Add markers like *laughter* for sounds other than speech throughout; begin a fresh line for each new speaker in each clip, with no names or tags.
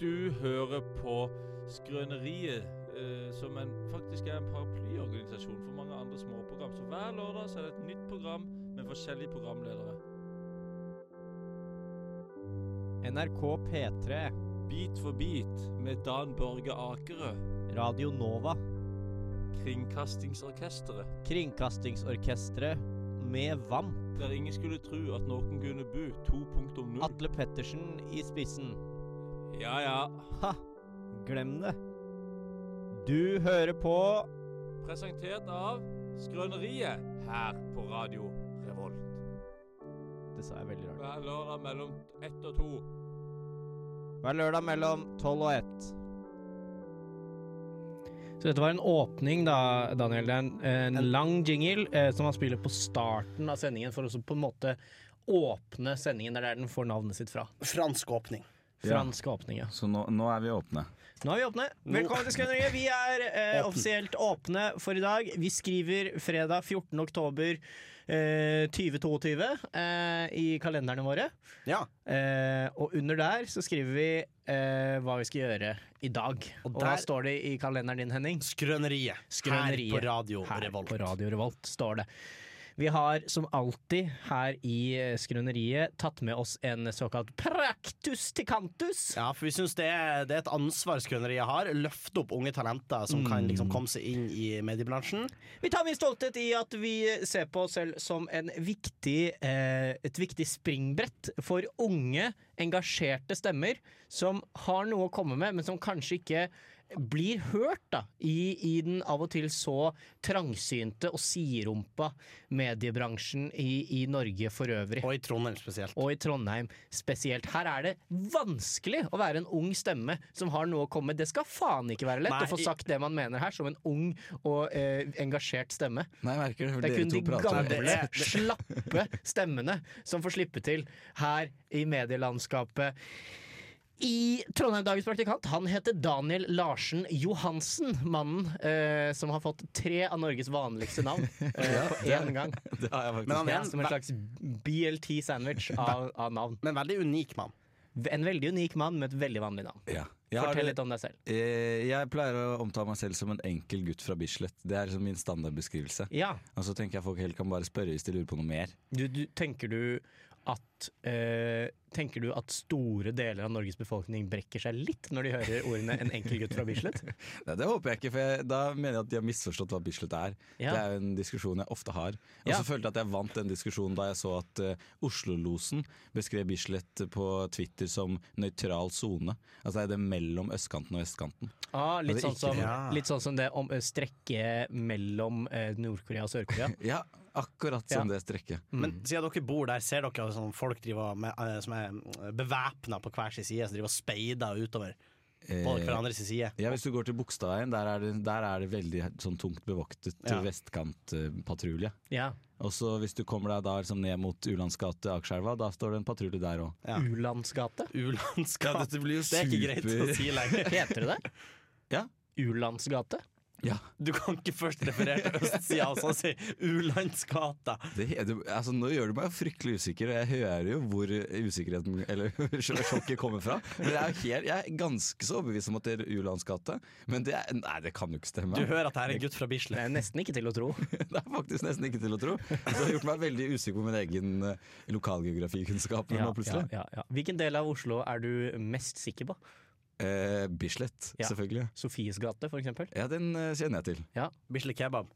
Du hører på Skrøneriet, eh, som en, faktisk er en paraplyorganisasjon for mange andre småprogram. Så hver lørdag så er det et nytt program med forskjellige programledere.
NRK P3,
Bit for bit med Dan Børge Akerø,
Radio Nova,
Kringkastingsorkesteret.
Kringkastingsorkestret med VAMP,
Der ingen skulle tro at noen kunne bo 2.0.
Atle Pettersen i spissen.
Ja ja.
Ha! Glem det. Du hører på
Presentert av Skrøneriet her på Radio Revolt.
Det sa jeg veldig rart.
Hver lørdag mellom ett og to.
Hver lørdag mellom tolv og ett.
Så dette var en åpning, da, Daniel. Det er en, en lang jingle eh, som man spiller på starten av sendingen for å så på en måte åpne sendingen. Det er der den får navnet sitt fra.
Fransk åpning.
Ja.
Fransk åpning, ja.
Så nå, nå er vi åpne.
Nå er vi åpne. Velkommen til Skrøneriet. Vi er eh,
Åpne.
offisielt åpne for i dag. Vi skriver fredag 14. oktober eh, 2022 eh, i kalenderne våre.
Ja.
Eh, og under der så skriver vi eh, hva vi skal gjøre i dag. Og, hva
der-
står det i kalenderen din, Henning?
Skrøneriet.
Skrøneriet.
Her på Radio
Her
Revolt.
på Radio Revolt står det. Vi har som alltid her i eh, Skrøneriet tatt med oss en såkalt praktus til kantus.
Ja, for vi syns det, er- det er et ansvar Skrøneriet har. Løfte opp unge talenter som kan liksom komme seg inn i mediebransjen.
Vi tar med stolthet i at vi ser på oss selv som en viktig, eh, et viktig springbrett for unge, engasjerte stemmer som har noe å komme med, men som kanskje ikke blir hørt da, i, i den av og til så trangsynte og siderumpa mediebransjen i, i Norge for øvrig.
Og i Trondheim spesielt.
og i Trondheim spesielt. Her er det vanskelig å være en ung stemme som har noe å komme med. Det skal faen ikke være lett
Nei,
å få
i-
sagt det man mener her, som en ung og eh, engasjert stemme.
Nei, jeg merker det. for
Det er
Dere
kun
to
de
prater.
Det
gamle,
er-
slappe stemmene som får slippe til her i medielandskapet. I Trondheim Dagens Praktikant Han heter Daniel Larsen Johansen. Mannen eh, som har fått tre av Norges vanligste
*laughs*
navn eh, på én gang.
Det har jeg
Men
faktisk.
han
*laughs* Ja,
er
som en
en,
slags BLT-sandwich av, av navn.
men veldig unik mann.
En veldig unik mann med et veldig vanlig navn.
Ja. Jeg, har,
Fortell
det-
litt om deg selv.
eh, jeg pleier å omtale meg selv som en enkel gutt fra Bislett. Det er liksom min standardbeskrivelse.
Ja,
Og så tenker jeg folk heller kan bare spørre hvis de lurer på noe mer.
du, du, tenker du at eh, Tenker du at store deler av Norges befolkning brekker seg litt når de hører ordene 'en enkel gutt fra Bislett'?
Nei, det håper jeg ikke, for jeg, da mener jeg at de har misforstått hva Bislett er.
Ja.
Det er jo en diskusjon jeg ofte har. Og så
Ja.
følte jeg at jeg vant den diskusjonen da jeg så at eh, Oslo-losen beskrev Bislett på Twitter som nøytral sone. Altså det er det mellom østkanten og vestkanten.
*laughs* Ah, litt,
Det er
sånn
ikke-
som,
ja.
litt sånn som det om, eh, strekket mellom eh, Nord-Korea og Sør-Korea.
Ja, akkurat som
Ja.
det strekket.
Men siden dere bor der, ser dere sånn folk driver med, eh, som er bevæpna på hver sin side, som driver og speider utover på
Eh,
hverandres side.
Ja, Hvis du går til Bogstadveien, der, er det- der er det veldig sånn tungt bevoktet
Ja.
vestkantpatrulje.
Ja.
Og så hvis du kommer deg da liksom ned mot Ulands gate, Akerselva, da står det en patrulje der òg.
Ja.
U-landsgate?
U-landskap.
Ja, dette blir jo
det er ikke greit
super-
å si lenger.
Heter det det?
Ja.
U-landsgate?
Ja,
Du kan ikke først referere til østsida og så si U-landsgata.
det, det- altså, nå gjør du meg jo fryktelig usikker, og jeg hører jo hvor usikkerheten Eller *laughs* sjokket kommer fra. Men jeg er, jo helt, jeg er ganske så overbevist om at det er Ulands gate, men det, er, nei, det kan jo ikke stemme.
Du hører at det er en gutt fra
Det
Bislett.
er nesten ikke til å tro.
*laughs* Det er faktisk nesten ikke til å tro. Så det har gjort meg veldig usikker på min egen eh, lokalgeografikunnskap nå plutselig.
ja, ja. Hvilken del av Oslo er du mest sikker på?
Eh, Bislett,
Ja.
selvfølgelig.
Sofies gate, for eksempel.
Ja, den eh, kjenner jeg til.
Bislett kebab.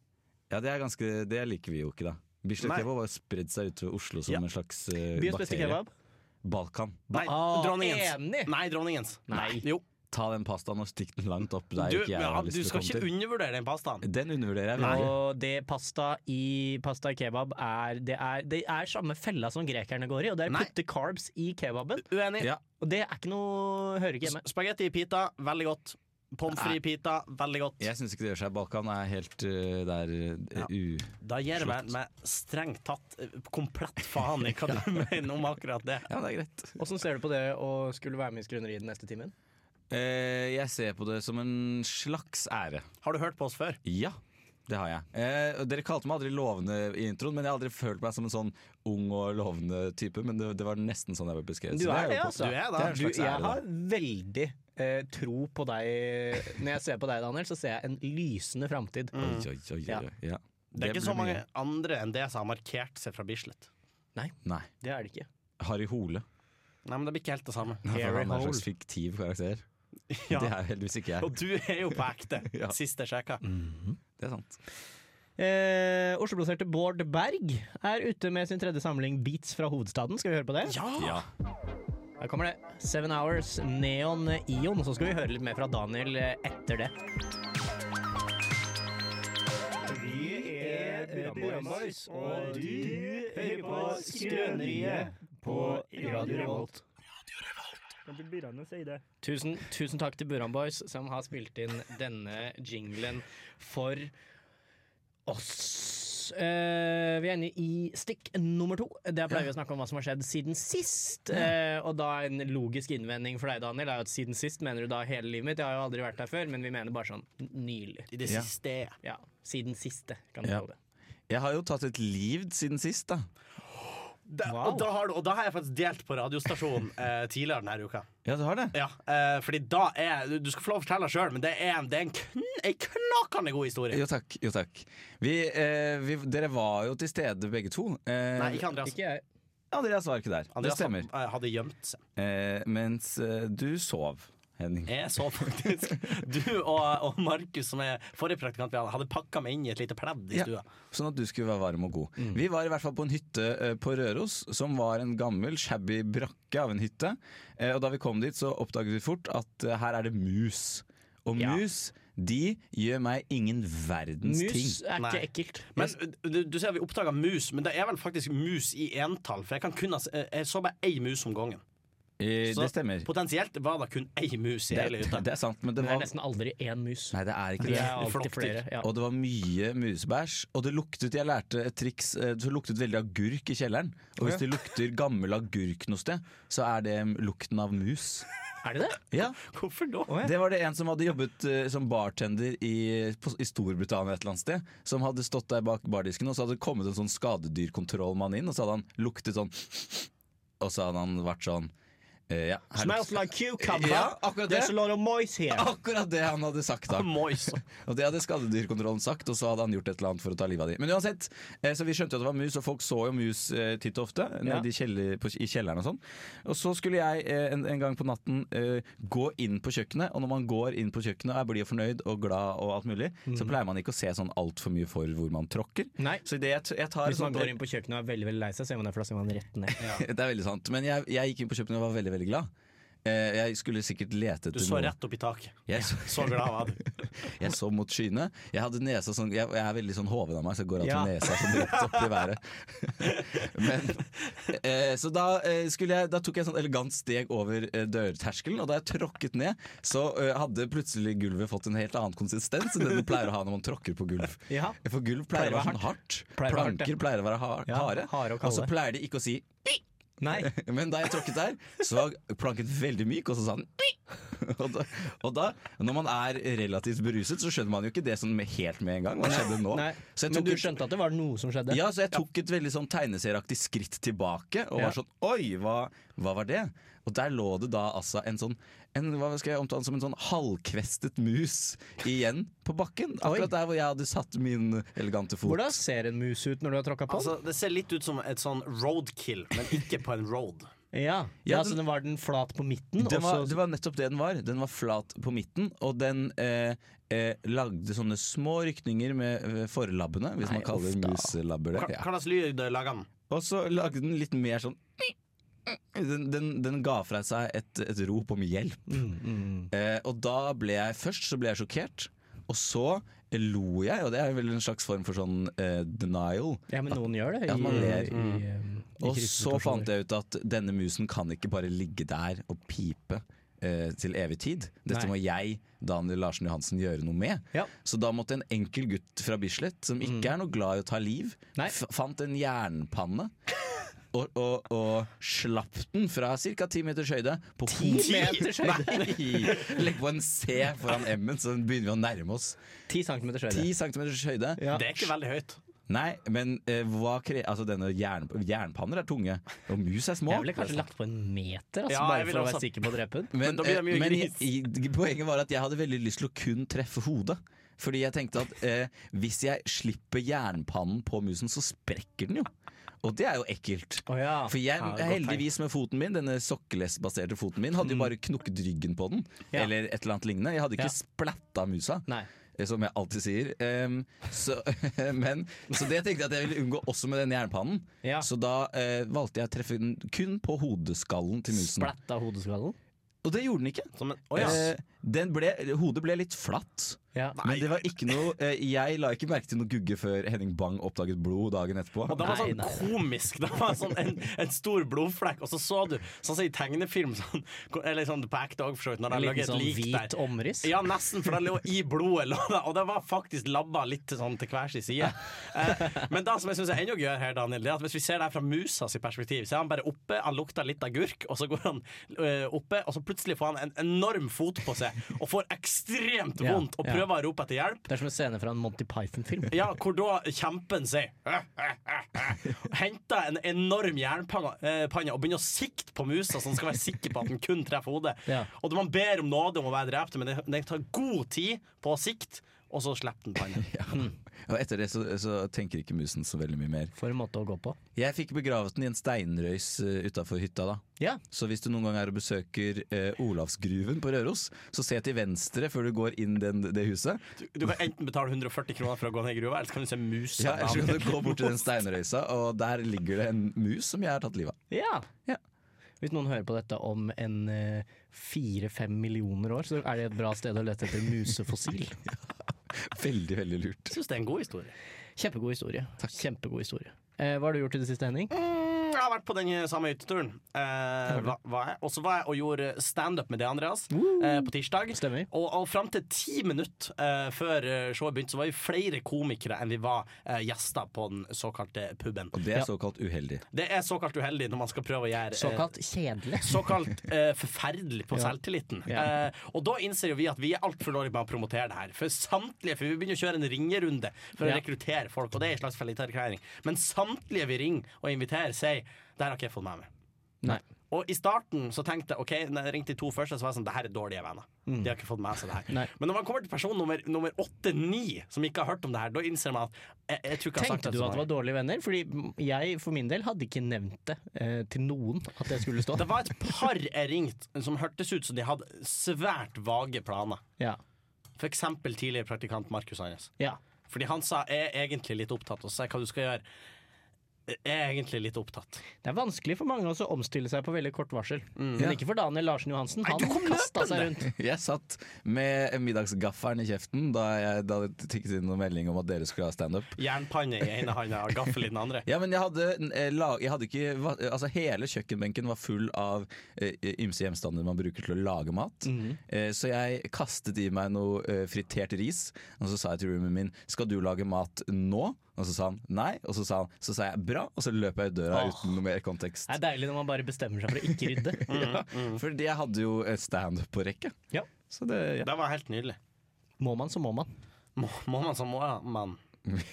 Ja, det, er ganske, det liker vi jo ikke, da. Bislett
Nei.
kebab har spredd seg utover Oslo som
Ja.
en slags eh,
Byens beste
bakterie.
kebab.
Balkan.
Nei,
Ah, enig.
dronningens. Nei, dronningens.
Nei.
Jo.
Ta den pastaen og stikk den langt opp der
Du,
ikke jeg
ja,
har
du
lyst til å
skal
komme
ikke
til.
undervurdere den pastaen.
Den undervurderer jeg. veldig.
Og det pasta i pasta i kebab er det, er det er samme fella som grekerne går i, og det er å
Nei.
putte carbs i kebaben.
Uenig.
Ja.
Og det er ikke noe hører ikke hjemme.
Spagetti i pita, veldig godt. Pommes frites i pita, veldig godt.
Jeg syns ikke det gjør seg. Balkan er helt eh, der eh,
Ja.
u...
Da gir jeg meg, meg strengt tatt eh, komplett faen i hva
*laughs*
du *laughs* mener om akkurat det.
Ja, det er greit.
Åssen ser du på det å skulle være med i Skrøneriet den neste timen?
Eh, jeg ser på det som en slags ære.
Har du hørt på oss før?
Ja. Det har jeg. Eh, og dere kalte meg aldri lovende i introen, men jeg har aldri følt meg som en sånn ung og lovende type. Men det, det var nesten sånn jeg ble beskrevet.
Du
Så
er
jo
det,
på-
altså.
Du er det.
Det er en slags ære,
jeg
da.
har veldig eh, tro på deg. Når jeg ser på deg, Daniel, så ser jeg en lysende framtid.
Oi, oi, oi,
Ja.
oi, ja.
Det er ikke
blir
så mange andre enn det som har markert seg fra Bislett.
Nei.
Det er det ikke.
Harry Hole.
Nei, men det blir ikke helt det
*laughs*
samme.
Han er
Harry
en
Hole.
slags fiktiv karakter.
Ja.
Det er jo heldigvis ikke jeg.
Og du er jo på ekte,
*laughs* Ja.
sist jeg sjekka.
Det er sant.
Eh, Oslo-plasserte Bård Berg er ute med sin tredje samling Beats fra hovedstaden. Skal vi høre på det?
Ah!
Ja.
Her kommer det. Seven Hours, Neon Ion. Så skal vi høre litt mer fra Daniel eh, etter det. Vi er Brønnboys, Eh, og du hører på Skrøneriet på Radio Revolt.
Kan du begynne å si det?
Tusen, tusen takk til Buran Boys som har spilt inn denne jinglen for oss. Eh, vi er inne i stikk nummer to. Der pleier vi å snakke om hva som har skjedd siden sist. Eh, og da en logisk innvending for deg, Daniel, er jo at siden sist mener du da hele livet mitt. Jeg har jo aldri vært der før, men vi mener bare sånn nylig.
I det
Mm, Ja.
siste.
Ja, siden siste, kan du
Ja.
kalle det.
Jeg har jo tatt et liv siden sist, da.
Da,
Wow.
og, da har du, og da har jeg faktisk delt på radiostasjonen eh, tidligere denne uka.
Ja, du har det?
Ja, eh, fordi da er Du du skal få lov å fortelle sjøl, men det er en, det er en, kn, en knakende god historie.
Jo takk. jo takk vi, eh, vi, Dere var jo til stede begge to. Eh,
Nei, ikke Andreas.
Altså, Ikke jeg.
Andreas var ikke der.
Andreas
det stemmer.
had- eh, hadde gjemt seg.
Eh, mens eh, du sov, Henning.
Jeg så faktisk *laughs* Du og, og Markus, som er forrige praktikant vi hadde, hadde pakka meg inn i et lite pledd i
Ja.
stua.
Sånn at du skulle være varm og god.
Mm.
Vi var i hvert fall på en hytte eh, på Røros, som var en gammel, shabby brakke av en hytte. Eh, og da vi kom dit, så oppdaget vi fort at eh, her er det mus. Og
Ja.
mus, de gjør meg ingen verdens ting.
Mus er
Nei.
ikke ekkelt.
Men du, du ser vi oppdaga mus, men det er vel faktisk mus i entall. For jeg, kan kun, ha s- eh, jeg så bare ei mus om gangen.
Eh,
Så
det stemmer.
Potensielt var det kun ei mus i
Det, *laughs*
hele hytta.
det er sant, men det
Det er
var
nesten aldri én mus.
Nei, det er ikke
Det
det.
er
flokkdyr.
alltid flere. Ja.
Og det var mye musebæsj. Og det luktet, jeg lærte et triks, eh, det luktet veldig agurk i kjelleren. Og hvis det lukter gammel agurk noe sted, så er det mm, lukten av mus.
Er det det?
Ja,
Hvorfor da?
Det var det en som hadde jobbet eh, som bartender i, på, i Storbritannia et eller annet sted. Som hadde stått der bak bardisken, og så hadde det kommet en sånn skadedyrkontrollmann inn, og så hadde han luktet sånn Og så hadde han vært sånn eh, ja, her
Smells
lukter-
like cucumber.
Ja, akkurat det. Ah,
There's a lot of mice here.
Akkurat det han hadde sagt,
*laughs*
da.
Mois.
Og det hadde skadedyrkontrollen sagt, og så hadde han gjort et eller annet for å ta livet av de. Men uansett, eh, så vi skjønte jo at det var mus, og folk så jo mus eh, titt og ofte
Ja.
nede i, kjeller, på, i kjelleren og sånn. Og så skulle jeg eh, en, en gang på natten eh, gå inn på kjøkkenet, og når man går inn på kjøkkenet og er blid og fornøyd og glad og alt mulig,
Mm.
så pleier man ikke å se sånn altfor mye for hvor man tråkker.
Nei.
Så det jeg, t- jeg tar
Hvis man
sånn-
går inn på kjøkkenet og er veldig veldig lei seg, så gjør man det, for da ser man rett ned.
*laughs* Det er veldig sant. Men jeg, jeg gikk inn på kjøkkenet og var veldig, veldig glad. Eh, Jeg skulle sikkert lete
Du
etter
så rett opp i taket.
Jeg så,
Så glad
*laughs*
var du.
Jeg så mot skyene. Jeg hadde nesa sånn Jeg, jeg er veldig sånn hoven av meg, så jeg går alltid
Ja.
med nesa sånn rett opp i
*laughs*
været. Men, eh, så da, eh, skulle jeg, da tok jeg et sånn elegant steg over eh, dørterskelen, og da jeg tråkket ned, så eh, hadde plutselig gulvet fått en helt annen konsistens enn det den pleier å ha når man tråkker på gulv.
Ja.
For gulv pleier, å være sånn hardt.
Pleier å være hardt,
Planker
ja.
pleier å være har
Ja,
harde.
harde og
og, så
kalde.
pleier de ikke å si
Nei.
*laughs* men da jeg tråkket der, så var planken veldig myk, og så sa den «Oi!» *laughs* og da, og da, når man er relativt beruset, så skjønner man jo ikke det sånn med, helt med en gang. Hva skjedde nå?
Nei.
Så jeg
Men
tok,
du
et-
skjønte at det var noe som skjedde?
ja, så jeg tok et veldig sånn tegneserieaktig skritt tilbake, og
Ja.
var sånn Oi, hva, hva var det? Og der lå det da altså en sånn en, hva skal jeg omtale den som en sånn halvkvestet mus igjen på bakken. Akkurat der hvor jeg hadde satt min elegante fot.
Hvordan ser en mus ut når du har tråkka på den?
Altså, det ser litt ut som et sånn roadkill, men ikke på en road.
ja.
Ja,
ja,
den-
Så den var den flat på midten?
Den var,
og
det
så-
var nettopp det den var. Den var flat på midten, og den eh, eh, lagde sånne små rykninger med eh, forlabbene, hvis
Nei,
man kaller
uff da.
muselabber
Hva
det. Ja.
slags lyd eh, lager den?
Og så lagde den litt mer sånn den, den, den ga fra seg et, et rop om hjelp.
Mm,
Eh, og da ble jeg først så ble jeg sjokkert, og så lo jeg, og det er vel en slags form for sånn eh, denial.
Ja, men noen gjør det.
Ja, man ler. Mm.
um,
Og så fant
jeg
jeg ut at denne musen kan ikke bare ligge der og pipe eh, til evig tid. Dette
Nei.
må jeg, Daniel Larsen Johansen, gjøre noe med.
Ja. Mm.
Så da måtte en enkel gutt fra Bislett, som ikke er noe glad i å ta liv,
Nei.
f fant en jernpanne. og, og, og slapp den fra ca. ti meters høyde på
Ti meters høyde?
*laughs* Nei! Legg på en C foran M-en, så begynner vi å nærme oss.
Ti centimeter
Ti
høyde.
centimeters høyde.
Ja.
Det er ikke veldig høyt.
Nei, men eh, hva kre... Altså, denne jern, jernpanner er tunge, og mus er små.
Jeg ville kanskje lagt på en meter, altså,
Ja,
bare
jeg
for
ville
å være
også-
sikker på å drepe den.
Men,
Men da blir det
eh,
mye
men
gris.
i- i- poenget var at jeg hadde veldig lyst til å kun treffe hodet. Fordi jeg tenkte at eh, hvis jeg slipper jernpannen på musen, så sprekker den jo. Og det er jo ekkelt.
Oh, ja.
For jeg,
Ja, godt
heldigvis med foten min, denne sokkelesbaserte foten min, hadde jo bare knukket ryggen på den.
Ja.
Eller et eller annet lignende. Jeg hadde
Ja.
ikke splatta musa,
Nei.
eh, som jeg alltid sier. Em, så, *laughs* men, så det tenkte jeg at jeg ville unngå også med den jernpannen.
Ja.
Så da eh, valgte jeg å treffe den kun på hodeskallen til musen.
Splatta hodeskallen.
Og det gjorde den ikke.
Som en, Å ja.
Eh, den ble, hodet ble litt flatt.
Ja.
Men det var ikke noe eh, Jeg la ikke merke til noe gugge før Henning Bang oppdaget blod dagen etterpå.
Og det
Nei,
var sånn
nei.
komisk. Det var sånn en, en stor blodflekk, og så så du, sånn som i tegnefilm, sånn, eller sånn på ekte òg, for så vidt, når
En
det lå
liten
et
sånn
lik
hvit
der.
omriss.
Ja, nesten, for det lå i blodet, lå det, og det var faktisk labba litt til sånn til hver sin side. Eh, men det som jeg syns er enda gøyere her, Daniel, det er at hvis vi ser det her fra musa sitt perspektiv, så er han bare oppe, han lukter litt agurk, og så går han eh, oppe, og så plutselig får han en enorm fot på seg, og får ekstremt
Ja,
vondt, og
ja.
prøver å rope etter hjelp.
Det er som en scene fra en Monty
*laughs*
Python-film.
Ja, hvor da kjempen sier *laughs* Henter en enorm jernpanne eh, panne og begynner å sikte på musa, så han skal være sikker på at den kun treffer hodet.
Ja.
Og da man ber om nåde om å være drept, men den- den tar god tid på å sikte, og så slipper den
*laughs*
pannen.
Ja. Og etter det så, så tenker ikke musen så veldig mye mer.
For en måte å gå på.
Jeg fikk begravet den i en steinrøys uh, utafor hytta da.
Ja.
Så hvis du noen gang er og besøker eh, Olavsgruven på Røros, så se til venstre før du går inn den, det huset.
Du, du kan enten betale 140 kroner for å gå ned i gruva, eller så kan du se musa.
Ja, Ellers kan du gå bort til den steinrøysa, og der ligger det en mus som jeg har tatt livet av.
Ja.
Ja.
Hvis noen hører på dette om en eh, fire-fem millioner år, så er det et bra sted å lete etter
*laughs*
musefossil.
Veldig, veldig lurt.
Jeg syns det er en god historie.
Kjempegod historie. Kjempegod historie. Eh, hva har du gjort i det siste, Henning?
Mm, Jeg har vært på den samme hytteturen. Eh, hva- hva er- og så var jeg og gjorde standup med det, Andreas, eh, på tirsdag.
Stemmer.
Og, og fram til ti minutter eh, før eh, showet begynte, så var vi flere komikere enn vi var eh, gjester på den såkalte puben.
Og det
Ja.
er såkalt uheldig.
Det er såkalt uheldig når man skal prøve å gjøre eh,
Såkalt kjedelig.
*laughs* Såkalt eh, forferdelig
*laughs*
på
Ja.
selvtilliten.
Ja.
Eh, og da innser jo vi at vi er altfor dårlige med å promotere det her. For samtlige, for vi begynner å kjøre en ringerunde
Ja.
for å rekruttere folk, og det er en slags fallitterklæring. Men samtlige vi ringer og inviterer, sier 'det her har ikke jeg fått med meg'.
Nei.
Og i starten så tenkte jeg Ok, når jeg ringte de to første, så var jeg sånn Det her er dårlige venner. De har ikke fått med seg det her.
Mm. Nei.
Men når man kommer til person nummer, nummer 8-9, som ikke har hørt om det her, da innser man at jeg, jeg tror ikke jeg har sagt
Tenkte
det
du
så
at det var
mange.
dårlige venner? Fordi jeg for min del hadde ikke nevnt det eh, til noen at jeg skulle
*laughs*
stå.
Det var et par jeg ringte som hørtes ut som de hadde svært vage planer.
Ja.
For eksempel tidligere praktikant Markus Andres.
ja.
Fordi han sa 'jeg er egentlig litt opptatt', og så sa jeg 'hva du skal gjøre'. Jeg er egentlig litt opptatt.
Det er vanskelig for mange også å omstille seg på veldig kort varsel. Men
Ja.
ikke for Daniel Larsen Johansen.
Mm. Nei,
Han
du kom
kasta seg
løpende.
rundt.
*laughs* Jeg satt med middagsgaffelen i kjeften da, jeg, da det tikket inn noen melding om at dere skulle ha standup.
Jernpanne i ene handa og gaffel i den
*laughs*
andre.
Ja, men jeg hadde, eh, la- jeg hadde ikke va- Altså Hele kjøkkenbenken var full av eh, ymse gjenstander man bruker til å lage mat.
Mhm.
Eh, så jeg kastet i meg noe eh, fritert ris, og så sa jeg til roomien min Skal du lage mat nå? Og så sa han nei, og så sa, han, så sa jeg bra, og så løp jeg ut døra
Åh.
uten noe mer kontekst.
Det er deilig når man bare bestemmer seg for å ikke rydde. *laughs*
Ja,
Mm,
for jeg hadde jo et standup på rekke.
Ja.
Så det ja.
Det var helt nydelig.
Må man, så må man.
Må, må man så må
*laughs*
man,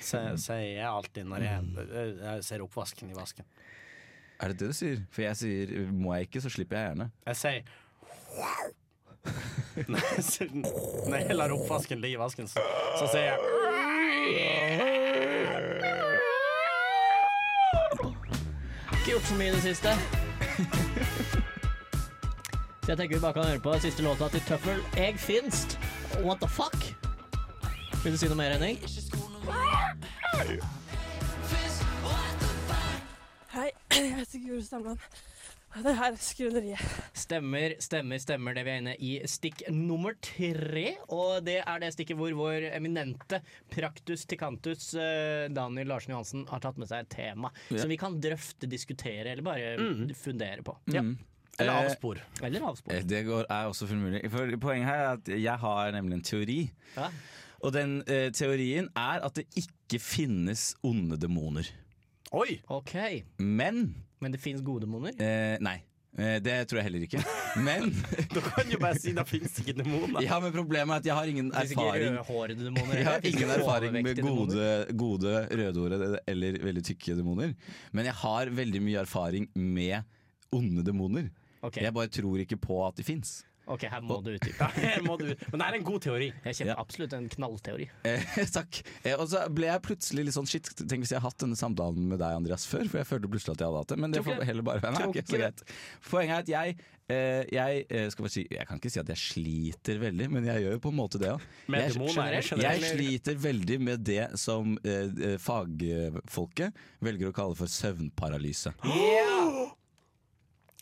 sier sier jeg alltid når jeg, jeg ser oppvasken i vasken.
Er det det du sier? For jeg sier må jeg ikke, så slipper jeg gjerne.
Jeg sier *laughs* Når jeg sier- når jeg lar oppvasken ligge i vasken, så, så sier jeg
Ikke gjort så mye i det siste. Så *laughs* jeg tenker vi bare kan høre på siste låta til Tøffel. Jeg finst. What the fuck? Vil du si noe mer, Henning?
Hei, *clears throat* jeg heter Guro Stamland. Og det her er Skrøneriet.
Stemmer, stemmer, stemmer. Det vi er inne i stikk nummer tre. Og det er det stikket hvor vår eminente praktus ticantus eh, Daniel Larsen Johansen har tatt med seg et tema som vi kan drøfte, diskutere eller bare fundere på.
Eller
Eh,
avspor.
Eller avspore.
Eh, Det går, er også fullt mulig. For poenget her er at jeg har nemlig en teori.
Ja.
Og den eh, teorien er at det ikke finnes onde demoner.
Oi!
OK.
Men
Men det fins gode demoner.
Eh, nei, eh, det tror jeg heller
*laughs*
ikke. Men,
Da kan du bare si da finnes det ikke demoner.
*laughs* ja, men problemet er at jeg har ingen
Det finnes ikke
erfaring
rødhårede demoner.
*laughs* Jeg har
heller.
ingen erfaring med
Overvektige demoner.
gode, gode rødhårede eller veldig tykke demoner. Men jeg har veldig mye erfaring med onde demoner.
Ok,
Jeg bare tror ikke på at de fins.
ok, her må du utdype.
Ja, her må du. Men det er en god teori.
Jeg kjenner
Ja.
absolutt en knallteori.
Eh, *laughs* takk. Eh, og så ble jeg plutselig litt sånn shit. Tenk hvis jeg har hatt denne samtalen med deg, Andreas, før. For jeg følte plutselig at jeg hadde hatt det. Men det
Tror ikke
får
det.
heller bare være
Tror
ok,
ikke
så
det.
greit. Poenget er at jeg, eh, jeg eh, skal bare si Jeg kan ikke si at jeg sliter veldig, men jeg gjør jo på en måte det òg.
Med
Jeg-
demoner er det
Jeg
generelt.
sliter veldig med det som eh, eh, fagfolket velger å kalle for søvnparalyse.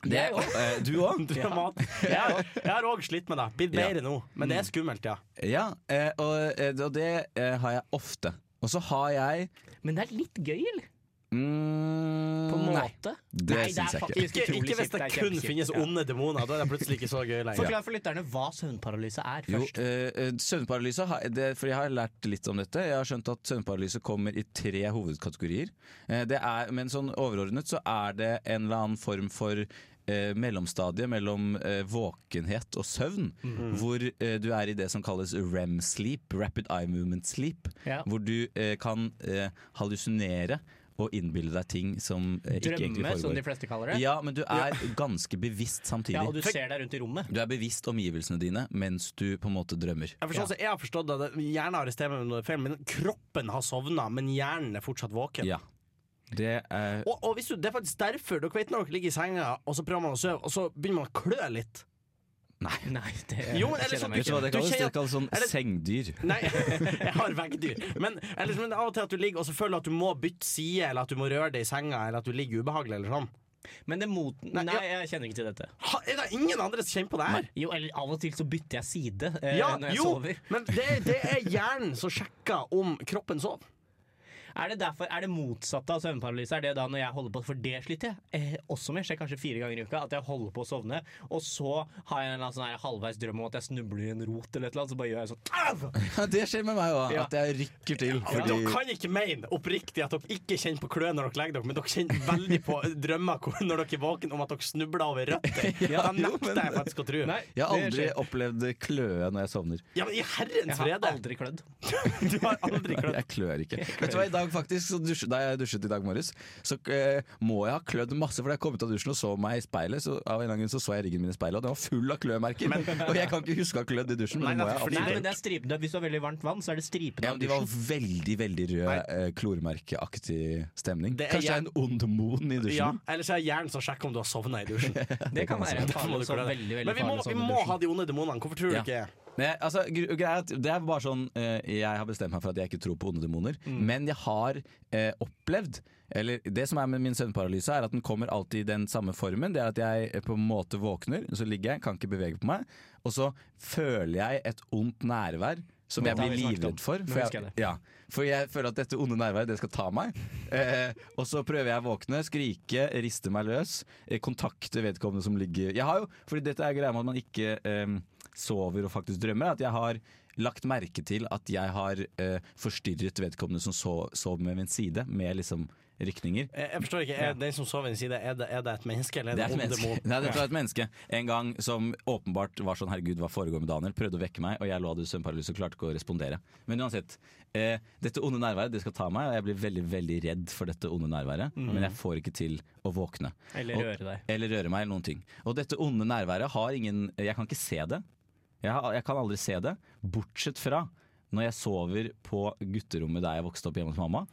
Det,
Jeg også.
eh, du òg?
Dramat. Jeg har- jeg har òg slitt med det. Blitt
Ja.
bedre nå, men det er skummelt, ja.
Ja, eh, og, eh, og det eh, har jeg ofte. Og så har jeg
Men det er litt gøy, eller?
mm,
På en
Nei,
måte.
det
Nei,
syns jeg ikke.
faktisk
Ikke,
utrolig
ikke hvis
kjipt,
det
er
kun
kjempekjipt.
finnes
Ja.
onde demoner. Da er det plutselig ikke så gøy lenger.
Forklar for lytterne hva søvnparalyse er,
Jo,
først.
eh, eh, søvnparalyse har, det, For jeg har lært litt om dette. Jeg har skjønt at søvnparalyse kommer i tre hovedkategorier. Eh, det er, men sånn overordnet så er det en eller annen form for eh, mellomstadie mellom eh, våkenhet og søvn.
Mm.
Hvor eh, du er i det som kalles REM sleep, rapid eye movement sleep.
Ja.
Hvor du eh, kan eh, hallusinere og innbille deg ting som eh, ikke egentlig
Drømme, sånn som de
foregår.
fleste kaller det.
Ja, men du er ganske bevisst samtidig.
Ja, og du ser deg rundt i rommet.
Du er bevisst omgivelsene dine mens du på en måte drømmer.
Jeg, forstår, så jeg har forstått at hjernen arresterer meg under feil, men kroppen har sovna, men hjernen er fortsatt våken.
Ja. Det er
Og, og hvis du, det er faktisk derfor dere vet når dere ligger i senga og så prøver man å sove, og så begynner man å klø litt.
Nei, det
Jo, men ellers
kjenner
så-
meg
Vet du hva det
Du
kalles?
kjenner-
Det kalles sånn
er det-
*laughs* sengdyr.
Nei, *laughs* jeg har veggdyr. Men, ellers, men av og til at du ligger og så føler du at du må bytte side, eller at du må røre deg i senga, eller at du ligger ubehagelig, eller sånn.
Men det mot...
Nei,
Nei,
ja.
jeg kjenner ikke til dette.
Ha, er det ingen andre som kjenner på det her?
Jo, eller av og til så bytter jeg side eh,
Ja,
når jeg
jo,
sover.
men det, det er hjernen som sjekker om kroppen sov.
Er det derfor, er det motsatte av søvnparalyse? Er det da når jeg holder på For det sliter jeg eh, også med. Skjer kanskje fire ganger i uka at jeg holder på å sovne, og så har jeg en eller annen sånn her halvveis drøm om at jeg snubler i en rot eller et eller annet, så bare gjør jeg sånn Au!
det skjer med meg òg,
Ja.
at jeg rykker til.
Dere
Fordi
kan ikke mene oppriktig at dere ikke kjenner på kløe når dere legger dere, men dere kjenner veldig på drømmer hvor- når dere er våken om at dere snubler
*laughs*
over røtter. Ja, det
jo,
nekter jeg faktisk å tro.
Nei,
jeg har
det
aldri
skjer.
opplevd kløe når jeg sovner.
Ja, men i
Jeg
herrens
har
frede!
aldri klødd.
Du har aldri klødd.
Jeg klør ikke. Vet du hva, i dag faktisk, så dusj, Da jeg dusjet i dag morges, så eh, må jeg ha klødd masse. For da jeg kom ut av dusjen og så meg i speilet, så av en eller annen grunn så, så jeg ryggen min i speilet, og den var full av klømerker. *laughs* og jeg kan ikke huske å ha klødd i dusjen, men
Nei,
det må
nei,
jeg
fordi
absolutt.
Nei,
det-
men det er stripende. Hvis du har veldig varmt vann, så er det stripende.
Ja, men de var veldig, veldig rød
Nei.
eh, klormerkeaktig stemning.
Det er
Kanskje det er en ond demon i dusjen?
Ja, ellers er hjernen som sjekker om du har sovna i dusjen.
*laughs* det kan være en
Derfor
farlig
må du
sånn
klø deg.
veldig, veldig
Men vi må,
farlig
vi
sånn
må
dusj.
ha de onde demonene. Hvorfor tror du
Ja.
ikke
Nei, altså, gr- greia er at det er bare sånn eh, Jeg har bestemt meg for at jeg ikke tror på onde demoner,
Mm.
men jeg har eh, opplevd eller Det som er med min søvnparalyse, er at den kommer alltid i den samme formen. Det er at jeg eh, på en måte våkner, så ligger jeg, kan ikke bevege på meg, og så føler jeg et ondt nærvær. Som jeg
Dette har
blir
vi snakket om.
livredd for.
Nå
For
husker
jeg,
jeg det.
ja, for jeg føler at dette onde nærværet det skal ta meg. *laughs* Eh, og så prøver jeg å våkne, skrike, riste meg løs, eh, kontakte vedkommende som ligger Jeg har jo, fordi dette er greia med at man ikke eh, sover og faktisk drømmer, at jeg har lagt merke til at jeg har eh, forstyrret vedkommende som sov, sov med min side, med liksom rykninger.
Jeg, jeg forstår ikke. Er den som sover i en side, er det, er det et menneske eller er
Det
det,
er et
en ond
menneske.
demon?
*laughs* Nei, dette var et menneske en gang som åpenbart var sånn 'herregud, hva foregår med Daniel?' Prøvde å vekke meg, og jeg lå av søvnparalyse og klarte ikke å respondere. Men uansett. Eh, dette onde nærværet det skal ta meg, og jeg blir veldig veldig redd for dette onde nærværet. Men jeg får ikke til å våkne.
Eller røre deg.
Eller røre meg, eller noen ting. Og dette onde nærværet har ingen Jeg kan ikke se det. Jeg, har, jeg kan aldri se det. Bortsett fra når jeg sover på gutterommet der jeg vokste opp hjemme hos mamma.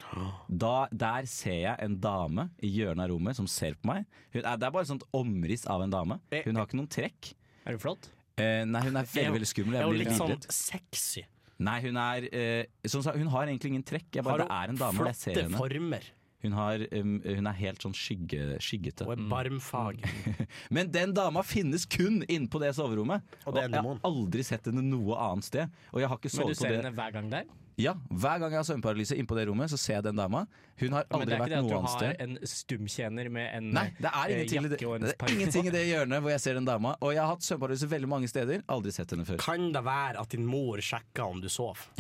Da, der ser jeg en dame i hjørnet av rommet som ser på meg. Hun er, det er bare et sånt omriss av en dame. Hun har ikke noen trekk.
Er du flott?
Eh, nei, hun
Eh, Er
er veldig
hun-
veldig skummel.
Er
Jeg
hun
blir
litt sånn
livredd.
sexy?
Nei, hun er eh, som sagt, Hun har egentlig ingen trekk. Jeg bare, det er en dame, og jeg ser
flotte
henne.
former
Hun, har, um, hun er helt sånn skygge, skyggete.
og er barmfag?
Mm. Men den dama finnes kun inne på det soverommet.
Og det er en
jeg
demon.
har aldri sett henne noe annet sted. Og jeg har ikke
Men du
sovet på
ser
det
henne hver gang der?
Ja, Hver gang jeg har søvnparalyse inne på det rommet, så ser jeg den dama. Hun har
Men det
aldri
er ikke
vært
det at
noe
du
annet
har
sted.
en stumtjener med en
Nei, det er,
eh,
ingenting, i det,
jakke og en
det er
parykk
ingenting i
på?
det hjørnet hvor jeg ser den dama. Og jeg har hatt søvnparalyse veldig mange steder. Aldri sett henne
*laughs*
før.
Kan det være at din mor sjekker om du sov?
*laughs*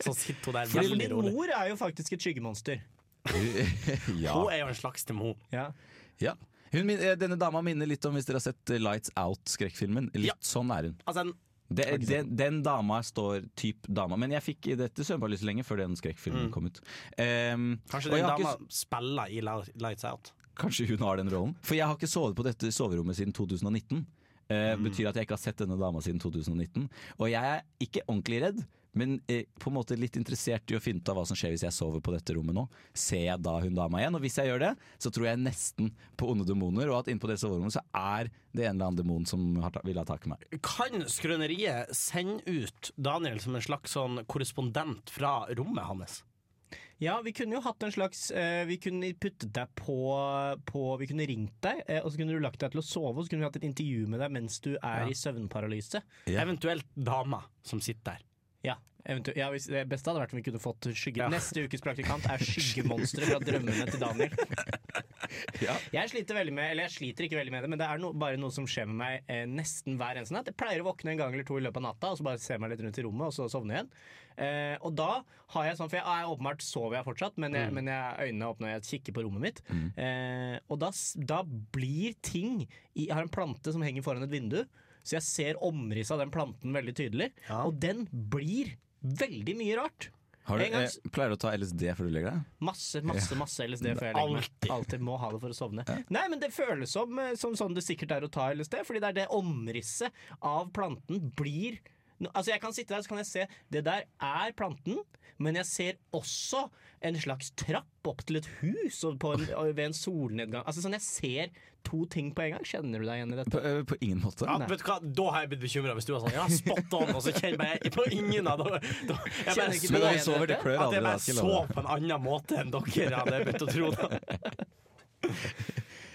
Så sitter hun der
Fordi
veldig
din
rolig.
mor er jo faktisk et skyggemonster.
ja.
Hun er jo en slags demon.
Ja.
Ja. Hun, min- eh, denne dama minner litt om hvis dere har sett eh, Lights Out-skrekkfilmen. Litt
Ja.
sånn er hun.
Altså, en-
Det, den, den dama står typ dama. Men jeg fikk i dette søvnparalyse lenge før den skrekkfilmen
Mm.
kom ut. Ehm,
kanskje
og
den
jeg har ikke
dama spiller i Li- Lights Out.
Kanskje hun har den rollen. For jeg har ikke sovet på dette soverommet siden 2019. Eh,
Mm.
Betyr at jeg ikke har sett denne dama siden 2019. Og jeg er ikke ordentlig redd, men eh, på en måte litt interessert i å finne ut av hva som skjer hvis jeg sover på dette rommet nå. Ser jeg da hun dama igjen? Og hvis jeg gjør det, så tror jeg nesten på onde demoner, og at innpå det soverommet så er det en eller annen demon som har ta vil ha tak i meg.
Kan Skrøneriet sende ut Daniel som en slags sånn korrespondent fra rommet hans?
Ja, vi kunne jo hatt en slags eh, Vi kunne puttet deg på, på Vi kunne ringt deg, eh, og så kunne du lagt deg til å sove, og så kunne vi hatt et intervju med deg mens du er
Ja.
i søvnparalyse.
Ja.
Eventuelt dama som sitter der.
Ja, eventu- ja hvis, Det beste hadde vært om vi kunne fått skygge.
Ja.
Neste ukes praktikant er skyggemonstre fra drømmene til Daniel.
Ja.
Jeg sliter veldig med Eller jeg sliter ikke veldig med det, men det er no, bare noe som skjer med meg eh, nesten hver eneste natt. Jeg pleier å våkne en gang eller to i løpet av natta og så bare se meg litt rundt i rommet, og så sovne igjen. Eh, og da har jeg sånn For jeg, jeg åpenbart sover jeg fortsatt, men, jeg, men jeg, øynene åpner og jeg kikker på rommet mitt. Eh, og da, s- da blir ting i, Jeg har en plante som henger foran et vindu, så jeg ser omrisset av den planten veldig tydelig. Og den blir veldig mye rart.
Har du,
En gang
eh,
s-
pleier du å ta LSD før du legger deg?
Masse, masse, masse LSD før jeg legger meg. Alltid. Må ha det for å sovne. Nei, men det føles som, eh, som sånn det sikkert er å ta LSD, fordi det er det omrisset av planten blir Nå- Altså Jeg kan sitte der så kan jeg se det der er planten, men jeg ser også en slags trapp opp til et hus og på en, og ved en solnedgang. Altså sånn Jeg ser to ting på en gang. Kjenner du deg igjen i dette?
På, eh, på ingen måte.
Ja, vet du hva? Da har jeg blitt bekymra hvis du var sånn Ja, spot on! Og så kjenner jeg på ingen av dem. Da- Jeg
Kjenner
bare
ikke
så,
Men
du
når
igjen
du sover, det
dette?
klør
at
aldri.
jeg
da,
bare
skal jeg
så
love deg.
på en annen måte enn dere hadde begynt å tro.
*laughs*
Da.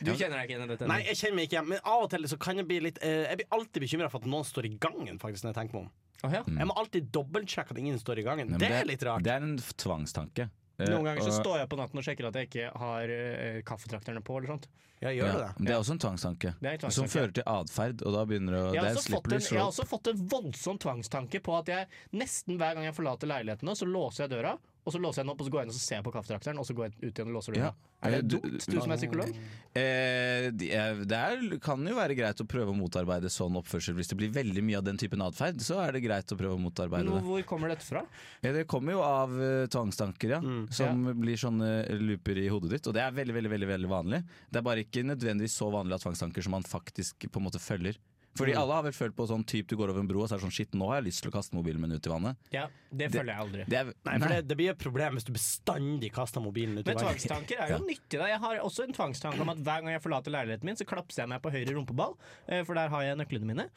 Du kjenner deg ikke igjen i dette?
Nei, jeg kjenner meg ikke igjen. Men av og til så kan jeg bli litt eh, Jeg blir alltid bekymra for at noen står i gangen, faktisk, når jeg tenker meg om.
Åh, ja.
Jeg må alltid dobbeltsjekke at ingen står i gangen.
Mm. Nei, men
det er litt rart.
Det er en f- tvangstanke. Eh,
Noen ganger så
og-
står jeg på natten og sjekker at jeg ikke har eh, kaffetrakterne på. eller sånt
Ja, gjør
Ja,
du det?
men Det er også en tvangstanke.
Det er en tvangstanke.
Som fører til atferd, og da begynner det å
Jeg
Det
har,
er
også fått en,
slippery
jeg har
slope.
også fått en voldsom tvangstanke på at jeg nesten hver gang jeg forlater leiligheten nå, så låser jeg døra, og så låser jeg den opp, og så går jeg inn og så ser jeg på kaffetrakteren, og så går jeg ut igjen og låser døra.
Ja.
Er det
Eh, du-
dumt, du som er psykolog?
Eh, de- eh, det er, kan jo være greit å prøve å motarbeide sånn oppførsel. Hvis det blir veldig mye av den typen atferd, så er det greit å prøve å motarbeide
Nå,
det.
hvor kommer dette fra?
Ja, det kommer jo av eh, tvangstanker, ja.
Mm,
som blir sånne eh, looper i hodet ditt. Og det er veldig, veldig, veldig, veldig vanlig. Det er bare ikke nødvendigvis så vanlig av tvangstanker som man faktisk på en måte følger.
Mm.
Fordi alle har vel følt på sånn typ du går over en bro og så er det sånn shit, nå har jeg lyst til å kaste mobilen min ut i vannet.
Ja, det
Det-
føler jeg aldri.
Det er,
Nei, for det, det blir et problem hvis du bestandig kaster mobilen ut i
Men
vannet.
tvangstanker er jo nyttig. Da. Jeg har også en tvangstanke om at hver gang jeg forlater leiligheten min, så klapser jeg meg på høyre rumpeball, eh, for der har jeg nøklene mine.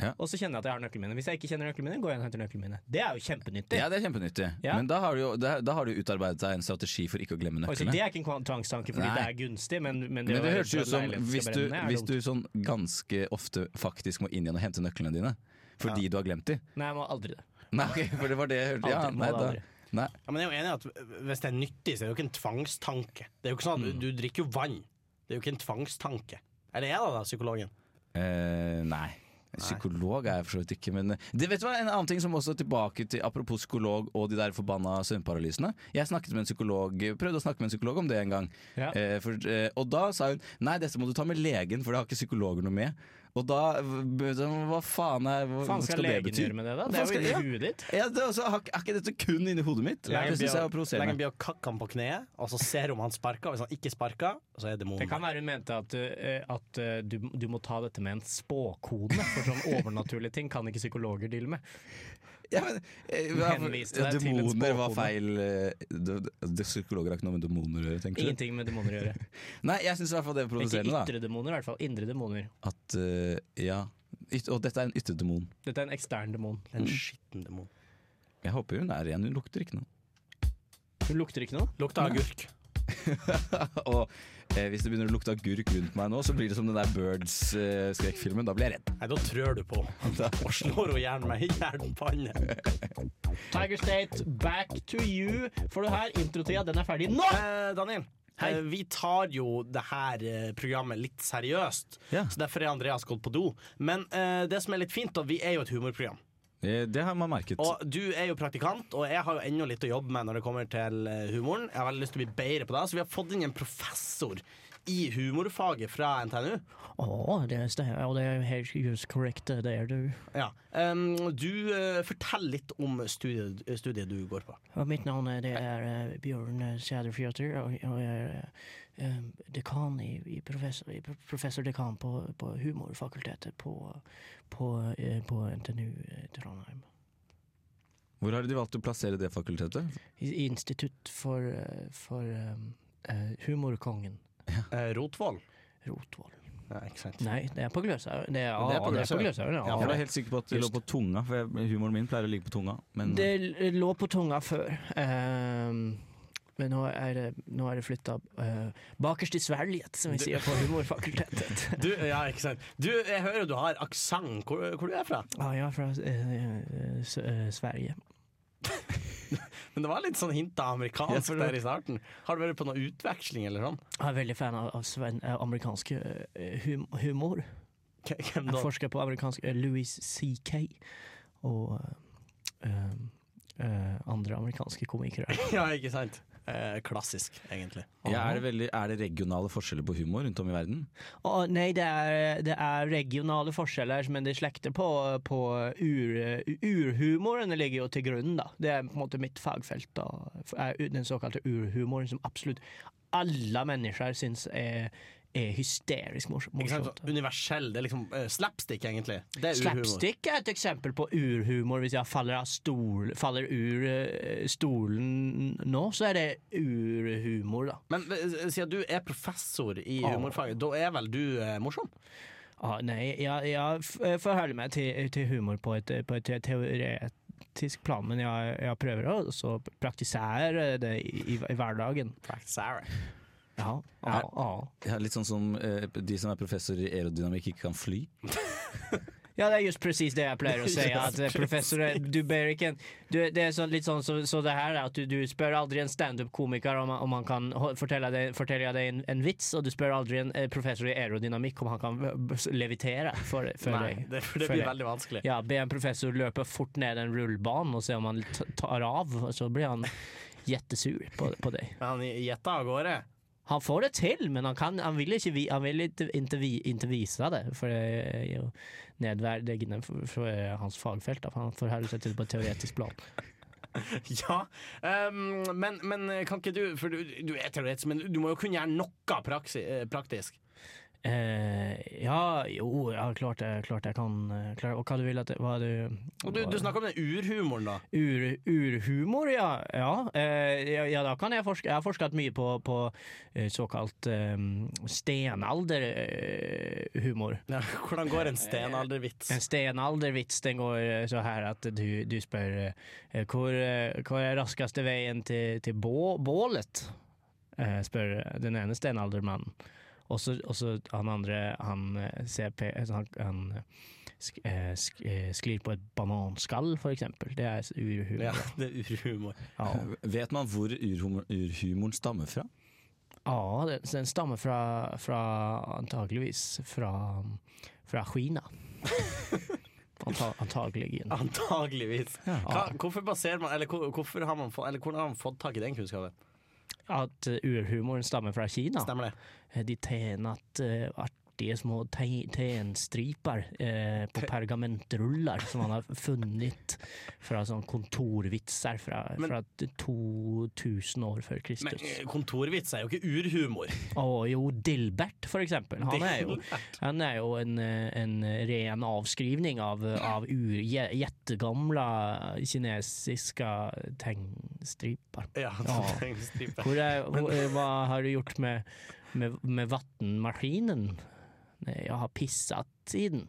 Ja.
Og så kjenner jeg at jeg har nøklene mine. Hvis jeg ikke kjenner nøklene mine, går jeg inn og henter nøklene mine. Det er jo kjempenyttig.
Ja, det er kjempenyttig.
Ja.
Men da har, du jo, da, da har du utarbeidet deg en strategi for ikke å glemme
Oi, så
nøklene.
det er ikke en tvangstanke fordi
Nei.
det er gunstig, men, men det,
men det
å være
høres jo
redd for
ut
at
som
leiligheten
hvis
skal
du,
brenne, er
hvis
dumt.
du sånn ganske ofte faktisk må inn igjen og hente nøklene dine. Fordi du har glemt de.
Nei, jeg må aldri det.
Nei, ok, for det var det jeg hørte. Ja,
Aldri, må
nei,
det
da,
aldri.
nei.
Ja, men jeg er jo enig i at Hvis det er nyttig, så er det jo ikke en tvangstanke. Det er jo ikke sånn at du, du drikker jo vann. Det er jo ikke en tvangstanke. Eller er det da, psykologen?
Eh, nei. Psykolog er jeg for så vidt ikke, men eh, det vet du hva, En annen ting som også er tilbake til Apropos psykolog og de der forbanna søvnparalysene. Jeg snakket med en psykolog Prøvde å snakke med en psykolog om det en gang.
Ja.
Eh, for, eh, og da sa hun nei, dette må du ta med legen, for det har ikke psykologer noe med. Og da b- så, Hva faen er Hva,
faen
hva
skal, legen
bety?
gjøre med det, da?
Hva
Det
faen
er jo
skal-
inni
ja.
huet ditt.
Ja, det er også, har, ikke- er ikke dette kun inni hodet mitt?
Legen
det syns jeg er provoserende.
Leggen blir å kakke han på kneet, og så ser hun om han sparker. Hvis han ikke sparker, så er
Det
demonen
kan være hun mente at, eh, at eh, du, du må ta dette med en spåkone, for sånn
*laughs*
overnaturlige ting kan ikke psykologer deale med.
Ja, men, eh, hva-
henviste
ja,
deg til en
demoner var
spåkone.
feil. eh, det- det- det- Psykologer har ikke noe med demoner å gjøre, tenker du?
Ingenting med demoner å gjøre.
Nei, jeg syns i hvert fall det er
Ikke
provoserende, da.
ytre demoner, i hvert fall. Indre demoner.
At eh, ja Yt Og dette er en ytterdemon.
Dette er en ekstern demon.
en
Mm.
skitten demon.
Jeg håper hun er ren, hun lukter ikke noe. *laughs*
Hun lukter ikke noe.
Lukter agurk.
og eh, hvis det begynner å lukte agurk rundt meg nå, så blir det som den der Birds-skrekkfilmen. da blir jeg redd.
Nei, *laughs* da trør du på Og slår hun gjerne meg i jernpanne.
Tiger State, back to you. For du her, introtida, den er ferdig nå!
Eh, Daniel,
Hei.
eh, vi tar jo det her eh, programmet litt seriøst.
Ja.
Så derfor er Andreas gått på do. Men eh, det som er litt fint, da, vi er jo et humorprogram.
Eh, det har man merket.
Og du er jo praktikant, og jeg har jo ennå litt å jobbe med når det kommer til eh, humoren. Jeg har veldig lyst til å bli bedre på det, så vi har fått inn en professor i humorfaget fra NTNU.
Oh, det stemmer, og det er helt just correct, det er du.
Ja. Um, du eh, Fortell litt om studiet, eh, studiet du går på.
Og mitt navn er, det er eh, Bjørn eh, Sæderfjøter, og, og jeg er eh, eh, dekan i, i professor, i pro- professor dekan på, på humorfakultetet på, på, eh, på NTNU eh, Trondheim.
Hvor har de valgt å plassere det fakultetet?
I, i Institutt for, eh, for eh, eh, humorkongen
Eh, Rotvoll.
Rotvoll.
Ja, ikke sant.
Nei, det er på Gløshaugen. Det, er-
Men det
ja, det
er på
er på
Gløshaugen.
Gløshaugen,
Ja,
Jeg
ja.
er helt sikker på at det lå
Just.
på tunga, for jeg- humoren min pleier å ligge på tunga. Men
Det l- lå på tunga før. ehm, men nå er det, nå er det flytta eh, bakerst i svelget, som vi sier på *laughs*
eh,
humorfakultetet.
*laughs* Du, ja, ikke sant. Du, jeg hører du har aksent. Hvor, hvor du er fra?
Ah, Ja, jeg er fra eh, eh, S- eh, Sverige.
Men det var litt sånn hint av
Ja,
amerikansk
for det-
der i starten. Har du vært på noen utveksling eller sånn?
Jeg er veldig fan av, av sven, eh, amerikansk eh, hum humor.
K- Hvem
Jeg
da?
forsker på amerikansk eh, Louis C.K. og eh, eh, andre amerikanske komikere.
*laughs* *laughs* Ja, ikke sant. Eh, klassisk, egentlig.
ja, er, det veldig, er det regionale forskjeller på humor rundt om i verden?
Å, nei, det er, det er regionale forskjeller, men det slekter på, på ur, urhumoren. Det ligger jo til grunn, da. Det er på en måte mitt fagfelt. Da. Er Den såkalte urhumoren som absolutt alle mennesker syns er, er hysterisk mors-
Ikke sant?
morsomt.
Sånn Universell. Det er liksom eh, slapstick, egentlig. Det er uhumor.
Slapstick er et eksempel på urhumor. Hvis jeg faller, av stol, faller ur eh, stolen nå, så er det urhumor, da.
Men eh, siden du er professor i
Ja.
humorfaget, da er vel du eh, morsom?
Ja, Ah, nei, jeg, jeg f- eh, forholder meg til, til humor på et, på et teoretisk plan, men jeg, jeg prøver å også praktisere det i, i, i hverdagen.
Sarah.
Ja, ah, ja, ja.
Ja, litt sånn som eh, de som er professorer i aerodynamikk ikke kan fly.
ja, det er just presis det jeg pleier å si.
Just
At eh, professor, eh, du ber ikke en- du, Det er sånn, litt sånn så, så det her, at du, du spør aldri en standup-komiker om, han- om han kan ho- fortelle deg, fortelle deg en, en vits, og du spør aldri en eh, professor i aerodynamikk om han kan eh, levitere for, for
Nei,
deg.
det, for det
Føler
blir
jeg.
veldig vanskelig.
Ja, be en professor løpe fort ned en rullebane og se om han t- tar av, og så blir han jettesur på, på deg.
Men han gjetta av gårde. *laughs*
Han får det til, men han, kan, han vil ikke, vi- han vil ikke, ikke, vi- ikke vise det, for det er jo nedverdigende for, for hans fagfelt. da, for Han forholder seg til det på et teoretisk plan.
Ja, ehm, men, men kan ikke du For du, du er teoretisk, men du må jo kunne gjøre noe praksi, eh, praktisk.
Eh, ja, jo, ja, klart, jeg, klart jeg kan eh, klart, Og hva du vil at det- Hva du
Og du, du snakker om den urhumoren,
*laughs*
da.
Ur, urhumor, ja. Ja, eh, ja. ja, da kan jeg forske. Jeg har forsket mye på, på eh, såkalt stenalderhumor.
Ja, hvordan går en stenaldervits?
En stenaldervits den går eh, så her at du, du spør eh, hvor, eh, hvor er raskeste veien til, til bå, bålet? Eh, spør den ene stenaldermannen. Og så og så han andre, han eh, ser pe- altså han, han eh, sk, eh, sk, eh, sklir på et bananskall, for eksempel. Det er urhumor.
Ja, *laughs* det er urhumor.
Ja.
*laughs* Vet man hvor urhumor, urhumoren stammer fra?
Ja, den, den stammer fra, fra antageligvis fra, fra Kina. Anta, antageligen.
Antageligvis. Hva, hvorfor baserer man Eller, hvor, hvorfor har man fått, eller hvordan har man fått tak i den kunnskapen?
At eh, urhumoren stammer fra Kina.
Stemmer det?
Eh, De tenat eh, artige små te tenstriper eh, på pergamentruller som han har funnet fra sånn kontorvitser fra,
Men-
fra 2000 år før
Men
Kristus.
eh, kontorvits er jo ikke urhumor.
Og jo, Dilbert, for eksempel. Han er jo,
Dilbert.
han er jo en, eh, en ren avskrivning av, av ur, je- jettegamla kinesiske tegnstriper.
*laughs* Ja,
Ja.
tegnstripe.
Hvor er, hvor, eh, hva har du gjort med, med, med vattenmaskinen? Nei, jeg har pisset i den.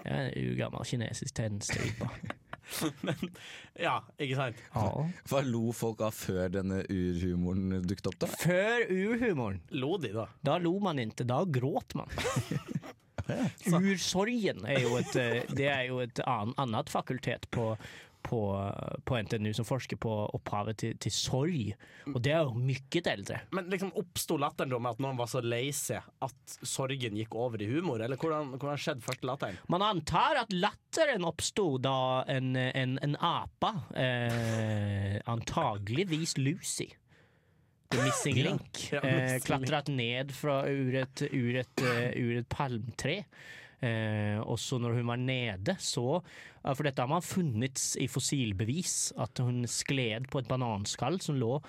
Det er en urgammel kinesisk tegnstripe.
ja, ikke sant?
Ja.
Hva lo folk av før denne urhumoren dukket opp, da?
Før urhumoren,
Lo de, da?
da lo man ikke, da gråt man. Ursorgen er jo et, eh, det er jo et ann- annet fakultet på, på, på NTNU som forsker på opphavet til, til sorg, og det er jo mye eldre.
Men liksom oppsto latteren da med at noen var så lei seg at sorgen gikk over i humor? Eller hvordan, hvordan skjedde første latteren?
Man antar at latteren oppsto da en, en, en apa, eh, antageligvis Lucy, The Missing Link.
Ja,
Eh,
Missing
klatret ned fra ur et, ur et, eh, ur et palmtre. Eh, og så når hun var nede, så eh, For dette har man funnet i fossilbevis, at hun skled på et bananskall som lå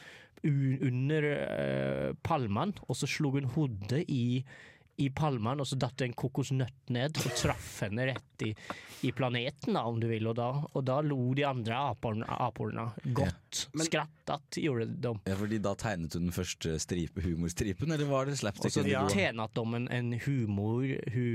u under eh, palmen, og så slo hun hodet i i palmen, og så datt det en kokosnøtt ned og traff henne rett i, i planeten, da, om du vil. Og da, og da lo de andre aporn- aporna godt. Skrattet gjorde de.
Ja, fordi da tegnet hun den første stripe, humorstripen, eller var det slapstick?
Og så
indigo?
tjente at de en, en humor,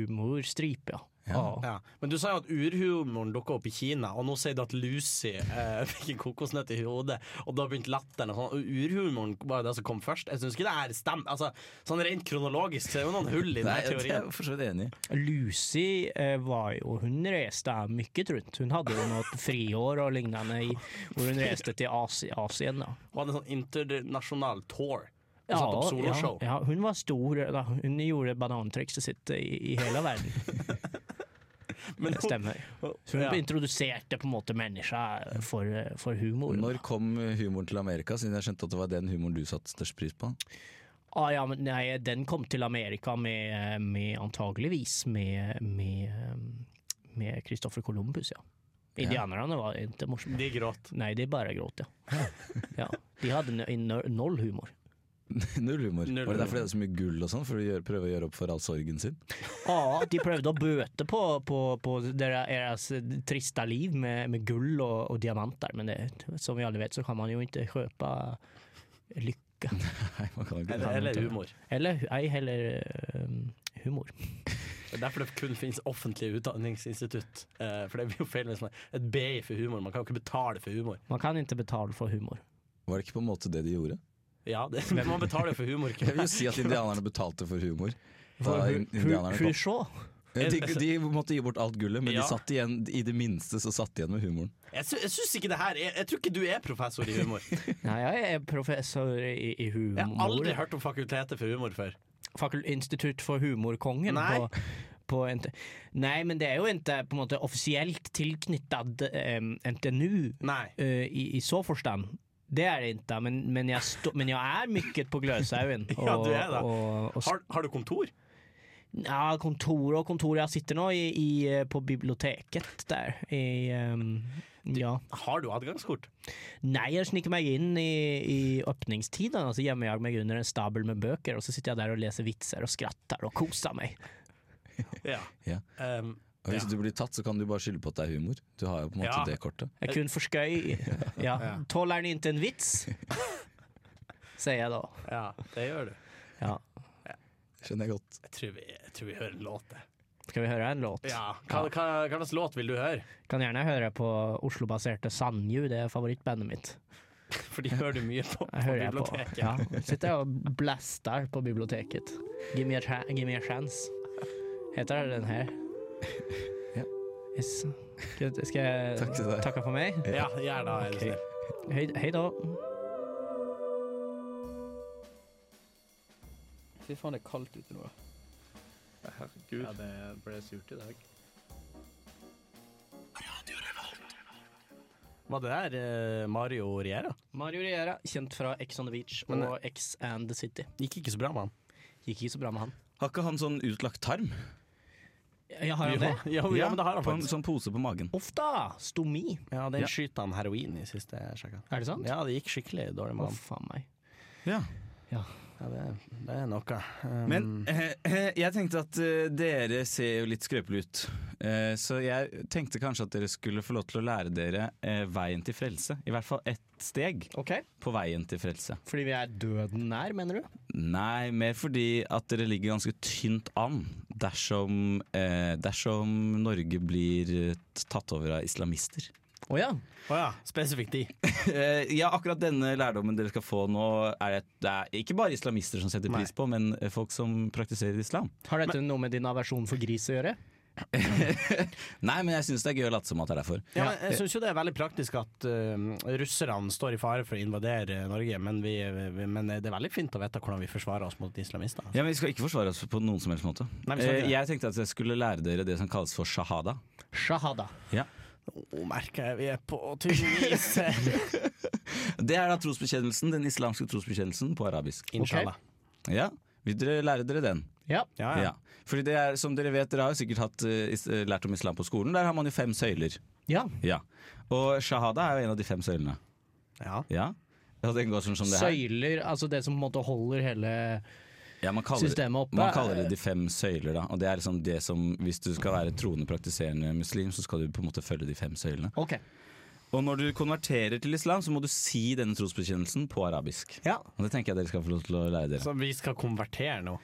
humorstripe, ja. Ah. Ja.
Ja. Men du sa jo at urhumoren dukka opp i Kina, og nå sier du at Lucy eh, *laughs* fikk en kokosnøtt i hodet, og da begynte latteren. Og sånn. Og urhumoren var jo det som kom først. Jeg syns ikke det er stem... Altså, sånn rent kronologisk så er det jo noen hull i den
Nei,
her
det er
teorien.
jeg for så vidt enig i.
Lucy eh, var jo Hun reiste mye rundt. Hun hadde jo
*laughs*
noe friår og lignende i, hvor hun reiste til Asi, Asien. da.
Og hadde en sånn internasjonal tour. Og
Ja,
satt
ja,
opp soloshow.
ja, hun var stor. Da. Hun gjorde banantrikset sitt i, i hele verden.
Men
Det stemmer. Så hun
Ja.
introduserte på en måte mennesker for, for humor.
Når kom humoren til Amerika, siden jeg skjønte at det var den humoren du satte størst pris på? *laughs*
Ah, ja, men nei, den kom til Amerika med, med antageligvis med, med, um, med Christopher Columbus, ja. Indianerne var ikke morsomme.
De gråt.
Nei, de bare gråt, ja. ja. De hadde n- n- null humor.
Null humor.
Null
var det
humor.
derfor det er så mye gull og sånn, for å gjøre, prøve å gjøre opp for all sorgen sin? *laughs*
Ja, de prøvde å bøte på, på, på dera- deres triste liv med, med gull og, og diamanter, men det, som vi alle vet, så kan man jo ikke kjøpe lykke.
Nei, man kan ikke det.
Eller, eller humor.
Eller ei heller um, humor.
Det er derfor det kun finnes offentlige utdanningsinstitutt. Eh, for det blir jo feil med sånn et BI for humor. Man kan jo ikke betale for humor.
Man kan ikke betale for humor.
Var det ikke på en måte det de gjorde?
Ja, det, men man betaler jo for humor. ikke
Jeg vil jo si at indianerne betalte for humor. Da
For hu- hu-
indianerne kom.
Husjå.
De, de måtte gi bort alt gullet, men
Ja.
de satt igjen, i det minste så satt de igjen med humoren.
Jeg, sy jeg syns ikke det her er, Jeg tror ikke du er professor i humor.
Nei, jeg er professor i, i humor.
Jeg har aldri hørt om fakultetet for humor før.
Fakul- Institutt for humorkongen.
Nei.
På, på NT Nei, men det er jo ikke på en måte offisielt tilknyttet em, NTNU
Nei.
eh, i, i så forstand. Det er det ikke, men, men, jeg, stå, men jeg er mye på Gløshaugen.
Ja, du er det.
og, og,
Har, har du kontor?
ja, kontor og kontor. Jeg sitter nå i, i, eh, på biblioteket der. I, em, ja.
Har du adgangskort?
Nei, jeg sniker meg inn i, i åpningstiden, og så gjemmer jeg meg under en stabel med bøker, og så sitter jeg der og leser vitser og skratter og koser meg.
Ja.
Ja.
Um,
Og hvis
Ja.
du blir tatt, så kan du bare skylde på at det er humor. Du har jo på en måte
Ja.
det kortet.
Jeg kun forskøy. Ja. Tåler den ikke en vits? *laughs* Sier jeg da.
ja, det gjør du.
Ja.
Skjønner jeg godt.
Jeg tror vi, jeg tror vi hører en låt. jeg.
Skal vi høre en låt?
Ja. Hva, hva, hva slags låt vil du høre?
Kan gjerne høre på Oslo-baserte Sandju, det er favorittbandet mitt.
For de hører du mye på,
Jeg
på
hører jeg på.
biblioteket.
Ja. Sitter jeg og blaster på biblioteket. Give me a, cha- give me a chance. Heter den her.
Ja.
Yes. Skal skal jeg
Takk til deg.
takke for meg?
Ja, gjør det. er du
Ok.
snill.
Hei, hei da.
Fy faen, det er kaldt ute nå.
Ja, det ble surt i dag.
Var det der eh, Mario Riera?
Mario Riera, kjent fra X on the Beach
Men- eh,
og X and the City.
Gikk ikke så bra med han.
Gikk ikke så bra med han.
Har ikke han sånn utlagt tarm?
Jeg har jo det.
Jo, jo, *laughs* ja, men det har han
på en
faktisk.
sånn pose på magen.
Uff da! Stomi.
Ja, den
Ja.
skyter han heroin i siste jeg sjekka.
Er det sant?
Ja, det gikk skikkelig dårlig
Å,
med han.
faen meg.
Ja.
Ja, det, det er noe. Um,
Men eh, eh, jeg tenkte at eh, dere ser jo litt skrøpelige ut. Eh, så jeg tenkte kanskje at dere skulle få lov til å lære dere eh, veien til frelse. I hvert fall ett steg
Ok,
på veien til frelse.
Fordi vi er døden nær, mener du?
Nei, mer fordi at dere ligger ganske tynt an dersom, eh, dersom Norge blir eh, tatt over av islamister.
Å ja.
Å ja, spesifikt de.
Eh, ja, akkurat denne lærdommen dere skal få nå, er det, det er ikke bare islamister som setter pris på, men eh, folk som praktiserer *laughs* islam.
Har dette noe med din aversjon for gris å gjøre?
Nei, men jeg syns det er gøy å late som at det er derfor.
Ja, men
eh,
jeg syns jo det er veldig praktisk at um, russerne står i fare for å invadere eh, Norge, men, vi, eh, vi, men det er veldig fint å vite hvordan vi forsvarer oss mot islamister.
Ja, men Vi skal ikke forsvare oss på noen som helst måte.
Nei, vi skal ikke
Eh,
det.
jeg tenkte at jeg skulle lære dere det som kalles for shahada.
Shahada.
Nå merker jeg vi er på tynn is.
*laughs*
Det er da trosbekjennelsen, den islamske trosbekjennelsen på arabisk.
Inshallah.
Ja, vil dere lære dere den?
Ja.
Ja, ja.
Ja. Fordi det er, som dere vet, dere har jo sikkert hatt, eh, is eh, lært om islam på skolen. Der har man jo fem søyler.
ja.
Ja. Og shahada er jo en av de fem søylene.
Ja.
Ja. Ja, den går sånn som det her.
Søyler, altså det som på en måte holder hele
Ja, man kaller, det-
systemet oppe.
man kaller det de fem søyler, da. Og det er liksom det som Hvis du skal være troende praktiserende muslim, så skal du på en måte følge de fem søylene.
Ok.
Og når du konverterer til islam, så må du si denne trosbekjennelsen på arabisk.
Ja.
Og det tenker jeg dere skal få lov til å lære dere.
Så vi skal konvertere nå.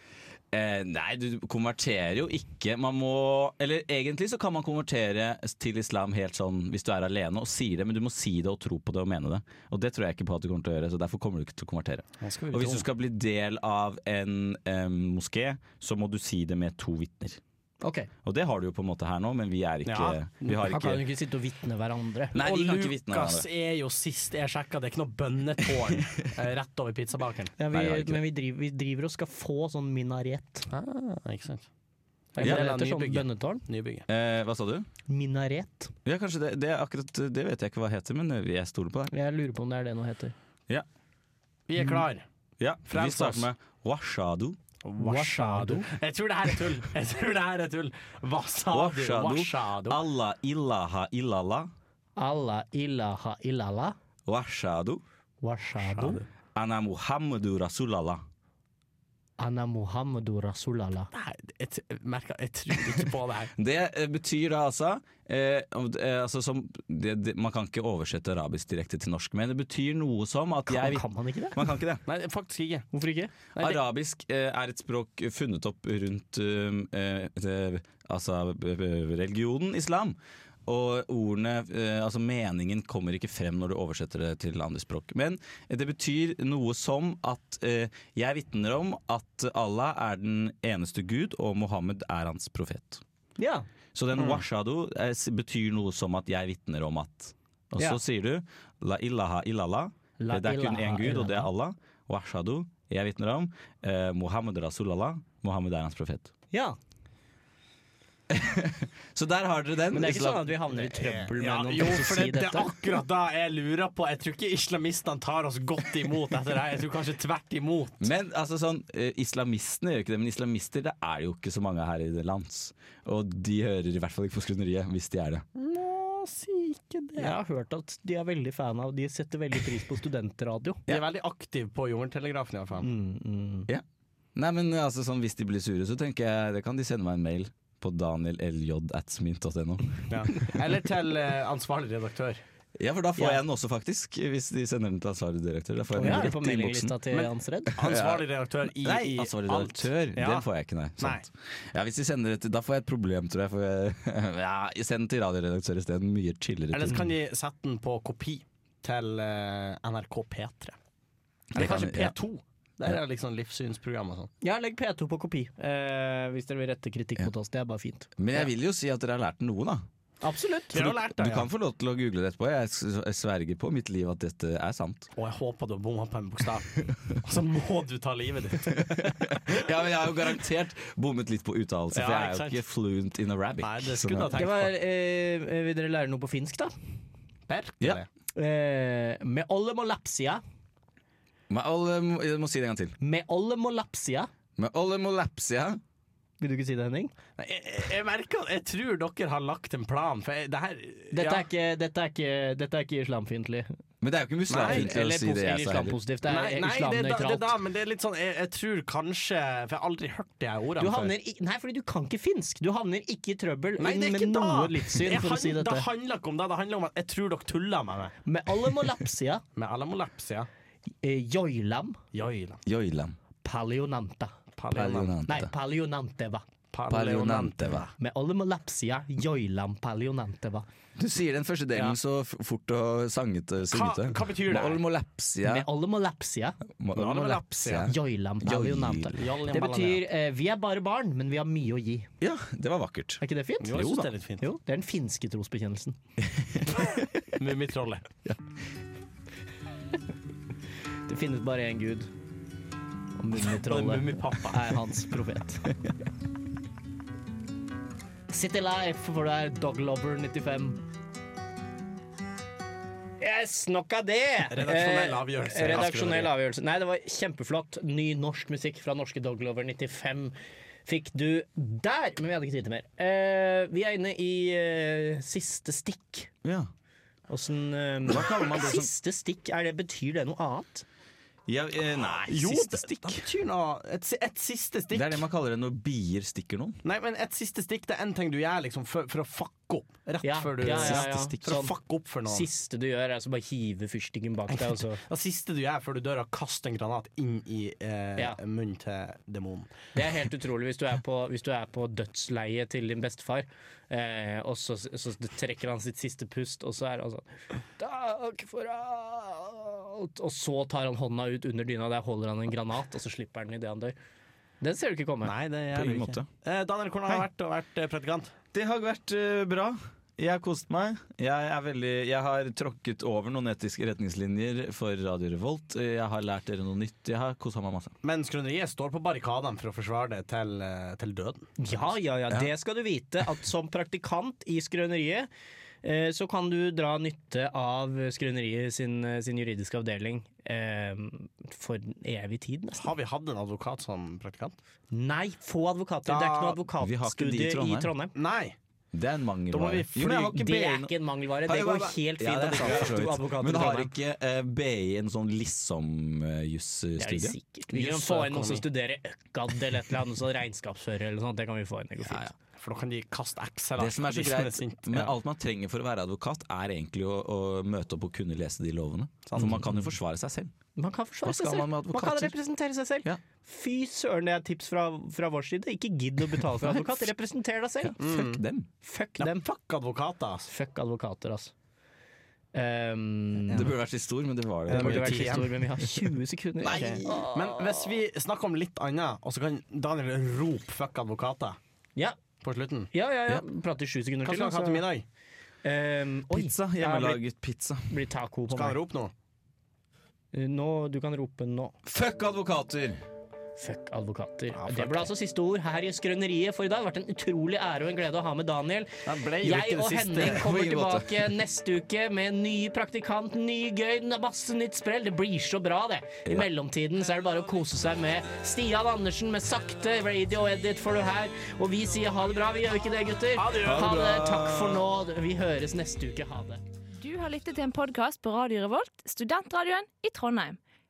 Eh, nei, du konverterer jo ikke. Man må Eller egentlig så kan man konvertere til islam helt sånn hvis du er alene og sier det, men du må si det og tro på det og mene det. Og det tror jeg ikke på at du kommer til å gjøre, så derfor kommer du ikke til å konvertere. Og hvis du skal bli del av en eh, moské, så må du si det med to vitner.
ok.
Og det har du jo på en måte her nå, men vi er ikke
Ja.
Vi har
Her kan
ikke
du ikke sitte og vitne hverandre.
Nei,
og
vi kan ikke vitne av
Lukas
det.
er jo sist jeg sjekka, det er ikke noe bønnetårn
*laughs*
eh, rett over pizzabakeren.
Ja, vi,
Nei, jeg har ikke
men vi driver, vi driver og skal få sånn minaret.
Ah, ikke sant.
Er
Ja,
det
det er
det heter sånn
nybygget.
bønnetårn?
Nybygget.
Eh, hva sa du?
Minaret.
Ja, kanskje det, det er akkurat Det vet jeg ikke hva det heter, men eh, jeg stoler på deg.
Jeg lurer på om det er det noe heter.
Vi er klar.
Ja, vi
Frels oss.
starter med washadu.
Mm. Washadu. Jeg tror det her er tull. Jeg tror det her er tull. Wasadu.
Washadu.
Washadu.
Allah illaha illallah.
Allah ilaha illallah
Washadu.
washadu
Anna Muhammedu Rasulallah.
ana muhammedu rasulallah.
Nei, jeg, t- jeg merker, jeg tror ikke på det her.
Det eh, betyr da altså, eh, om- eh, altså som, det, det, Man kan ikke oversette arabisk direkte til norsk, men det betyr noe som at jeg
kan man ikke det?
Man kan ikke det.
Nei, faktisk ikke.
Hvorfor ikke?
Nei, det-
Arabisk eh, er et språk funnet opp rundt um, eh, det, altså, b- b- religionen islam. Og ordene, eh, altså meningen kommer ikke frem når du oversetter det til andre språk. Men eh, det betyr noe som at eh, jeg vitner om at Allah er den eneste Gud, og Mohammed er hans profet.
Ja.
Så
Mm.
den washadu eh, s- betyr noe som at jeg vitner om at. Og
Ja.
så sier du la ilaha illallah.
La
det er kun
ilaha
én gud, og det er
illallah.
Allah. Washadu, jeg vitner om. Eh, Mohammed rasulallah. Mohammed er hans profet.
Ja,
Så der har dere den.
Men det er ikke
Islam-
sånn at vi havner i trøbbel med
Eh, Ja,
noen
jo,
som
for
sier
det, det er
dette.
*laughs* akkurat da jeg lurer på. Jeg tror ikke islamistene tar oss godt imot etter det her. Jeg tror kanskje tvert imot.
Men altså sånn, eh, islamistene gjør ikke det, men islamister det er jo ikke så mange her i det lands. Og de hører i hvert fall ikke på Skrøneriet, hvis de er det.
Nå, si ikke det. Jeg har hørt at de er veldig fan av De setter veldig pris på studentradio.
De er veldig aktive på Jungeltelegrafen, i hvert fall. Mm,
Nei, men altså sånn, Hvis de blir sure, så tenker jeg det kan de sende meg en mail på daniellj.atsmint.no.
Ja. Eller til eh, ansvarlig redaktør.
Ja, for da får
Ja.
jeg den også, faktisk. Hvis de sender den til ansvarlig direktør. Da får jeg
mm.
Og
den
jeg er på
rett i innboksen.
mailinglista til Ansred.
Ansvarlig redaktør i,
Nei,
i
ansvarlig
alt.
redaktør.
Ja.
Den får jeg ikke, nei. Sånn. Sant. Ja, hvis de sender det til Da får jeg et problem, tror jeg. For jeg *laughs* ja, send den til radioredaktør isteden. Mye chillere.
Ellers
ting.
kan de sette den på kopi til eh, NRK P3.
Det
Eller
kan
kanskje
de, ja.
P2. Der er det liksom livssynsprogram og sånn.
Ja, legg P2 på kopi, eh, hvis dere vil rette kritikk mot oss. Det er bare fint.
Men jeg vil jo si at dere har lært noe, da.
Absolutt.
Dere har lært
Du
det, ja.
kan få lov til å google det etterpå. Jeg s- Jeg sverger på mitt liv at dette er
*laughs*
sant.
Og jeg håper du har bomma på en bokstav. Og så må du ta livet ditt.
Ja, men jeg har jo garantert bommet litt på uttalelse,
Ja,
for jeg er
ikke
jo ikke fluent in arabic.
Nei, det
Så
skulle du ha
da-
Det
tenkt
var,
på.
eh, vil dere lære noe på finsk, da?
Ja.
Berkele.
Eh, med alle må lapsia.
Men alle eh, må- Jeg må si det en gang til.
Med alle må lapsia.
Med alle molapsia
Vil du ikke si det, Henning?
Nei, Jeg, jeg merker Jeg tror dere har lagt en plan, for jeg, det her
Dette,
ja.
er ikke, dette, er ikke, dette er ikke islamfiendtlig.
Men det er jo ikke muslimfiendtlig
Eller,
å si
pos-
det
eller
jeg sa heller.
islampositivt. Det
Nei,
er
nei det, er da, det er
islamnøytralt.
da, men det er litt sånn Jeg, jeg tror kanskje For jeg har aldri hørt de her
Du
ordene før.
havner i, nei, fordi du kan ikke finsk. Du havner ikke i trøbbel
Nei, det er
med
ikke da.
noe livssyn,
Jeg
for å si
han-
dette.
Det handler ikke om det. Det handler om at jeg tror dere tuller med meg.
Med alle må lapsia.
Med alamolapsia.
Eh, joilam
Joila.
Joilam.
paleonanta.
Paljonante.
Nei, paleonanteva.
Paljonanteva.
Med alle må lapsia. Joilam paleonanteva.
Du sier den første delen
Ja.
så f- fort og sangete. syngete.
hva betyr det?
Molmolapsia.
Med alle må lapsia.
Molmolapsia.
Joilam paleonanta.
Joila.
Det betyr eh, vi er bare barn, men vi har mye å gi.
Ja, det var vakkert.
Er ikke det fint?
Jo, jeg synes det er litt fint.
Jo, det er den finske trosbekjennelsen.
Mummitrollet.
Det finnes bare én gud. Og
Og det er
Mummitrollet
Mummipappa.
er hans profet. City Life, for det er Doglover95. Yes, nok av det!
Redaksjonell
Eh,
avgjørelse.
Redaksjonell avgjørelse. Nei, det var kjempeflott. Ny norsk musikk fra norske Doglover 95 fikk du der. Men vi hadde ikke tid til mer. Eh, vi er inne i eh, siste stikk.
Ja.
Åssen
Hva kaller man det som
Siste stikk, er det, betyr det noe annet?
ja, eh, Nei,
Jo,
siste
det,
stikk.
det betyr noe. Et, si- et siste stikk.
Det er det man kaller det når bier stikker noen.
Nei, men et siste stikk det er en ting du gjør liksom for, for å fucke opp. Rett
Ja,
før du
ja, ja, ja.
Siste stikk. For
Sånn.
å fucke opp for noen.
Siste du gjør, er altså bare hive fyrstikken bak deg, og så
Det siste du gjør før du dør, er å kaste en granat inn i eh,
Ja.
munnen til demonen.
Det er helt utrolig hvis du er på, hvis du er på dødsleiet til din bestefar, eh, og så, så trekker han sitt siste pust, og så er han sånn Takk for alt! Og så tar han hånda ut under dyna, der holder han en granat, og så slipper han den idet han dør. Den ser du ikke komme.
Nei, det
På
gjør du
ingen
ikke.
måte.
Eh, Daniel, hvordan har det vært å være eh, predikant?
Det har vært eh, bra. Jeg har kost meg. Jeg, er veldig, jeg har tråkket over noen etiske retningslinjer for Radio Revolt. Jeg har lært dere noe nytt. Jeg har kosa meg masse.
Men Skrøneriet står på barrikadene for å forsvare det til, eh, til døden.
Ja, ja, ja, det skal du vite, at som praktikant i Skrøneriet, eh, så kan du dra nytte av Skrøneriet sin, eh, sin juridiske avdeling eh, for evig tid, nesten.
Har vi hatt en advokat som praktikant?
Nei, få advokater.
Da-
det er ikke noe
Vi har ikke de
advokatstudie
i
i
Trondheim.
Trondheim.
Nei.
Det er en mangel.
Da må vi
Jo, men jeg har
Det
ikke
er
BI
ikke en mangelvare. Det
Ja,
går
ja,
helt
ja,
fint
det
at
er sant, for
ikke
så
to
vidt.
advokater i
Men har
Trondheim.
ikke eh, BI en sånn
Det er
liksom-jusstudie?
sikkert. Vi kan
Jus og
få inn noen som
økonomi.
studerer ØKAD eller et eller annet, sånn regnskapsfører eller sånt. Det kan vi få inn. Det går fint.
For da kan de kaste Excel.
Det som er så *laughs* greit med
ja.
alt man trenger for å være advokat, er egentlig å, å møte opp og kunne lese de lovene. For man kan jo forsvare seg selv.
Man kan forsvare
Hva
seg
skal
selv.
man
Man
med
kan
advokater?
representere seg selv.
Ja.
Fy søren, det er et tips fra, fra vår side. Ikke gidd å betale
*laughs*
for advokat. Representer deg selv.
Fuck dem.
Fuck
Nei,
dem.
Fuck advokater, altså.
Fuck advokater, altså. Um,
Det burde vært siste ord, men det var det.
det burde
mye
vært
tid
siste
igjen.
ord, men vi har 20 sekunder. Ok.
Men hvis vi snakker om litt annet, og så kan Daniel rope 'fuck advokater'
Ja,
på slutten
Ja, ja, ja. Prater sju sekunder
Hva
til.
skal han ha til
altså.
middag?
Ehm, oi,
Pizza.
Ja, blir,
Hjemmelaget pizza.
blir taco på
Skal han
meg.
rope noe?
Nå, du kan rope nå.
Fuck advokater!
Fuck advokater.
fuck
det ble altså siste ord her i Skrøneriet for i dag. Det har vært en utrolig ære og en glede å ha med Daniel.
Den ble jo
Jeg
ikke
og
det siste.
Henning kommer
På ingen måte.
tilbake neste uke med en ny praktikant, ny gøy, n- masse nytt sprell. Det blir så bra, det. I mellomtiden så er det bare å kose seg med Stian Andersen med sakte radio edit får du her. Og vi sier ha det bra. Vi gjør ikke det, gutter. Ha det, Takk for nå. Vi høres neste uke. Ha det.
Du har lyttet til en podkast på Radio Revolt, studentradioen i Trondheim.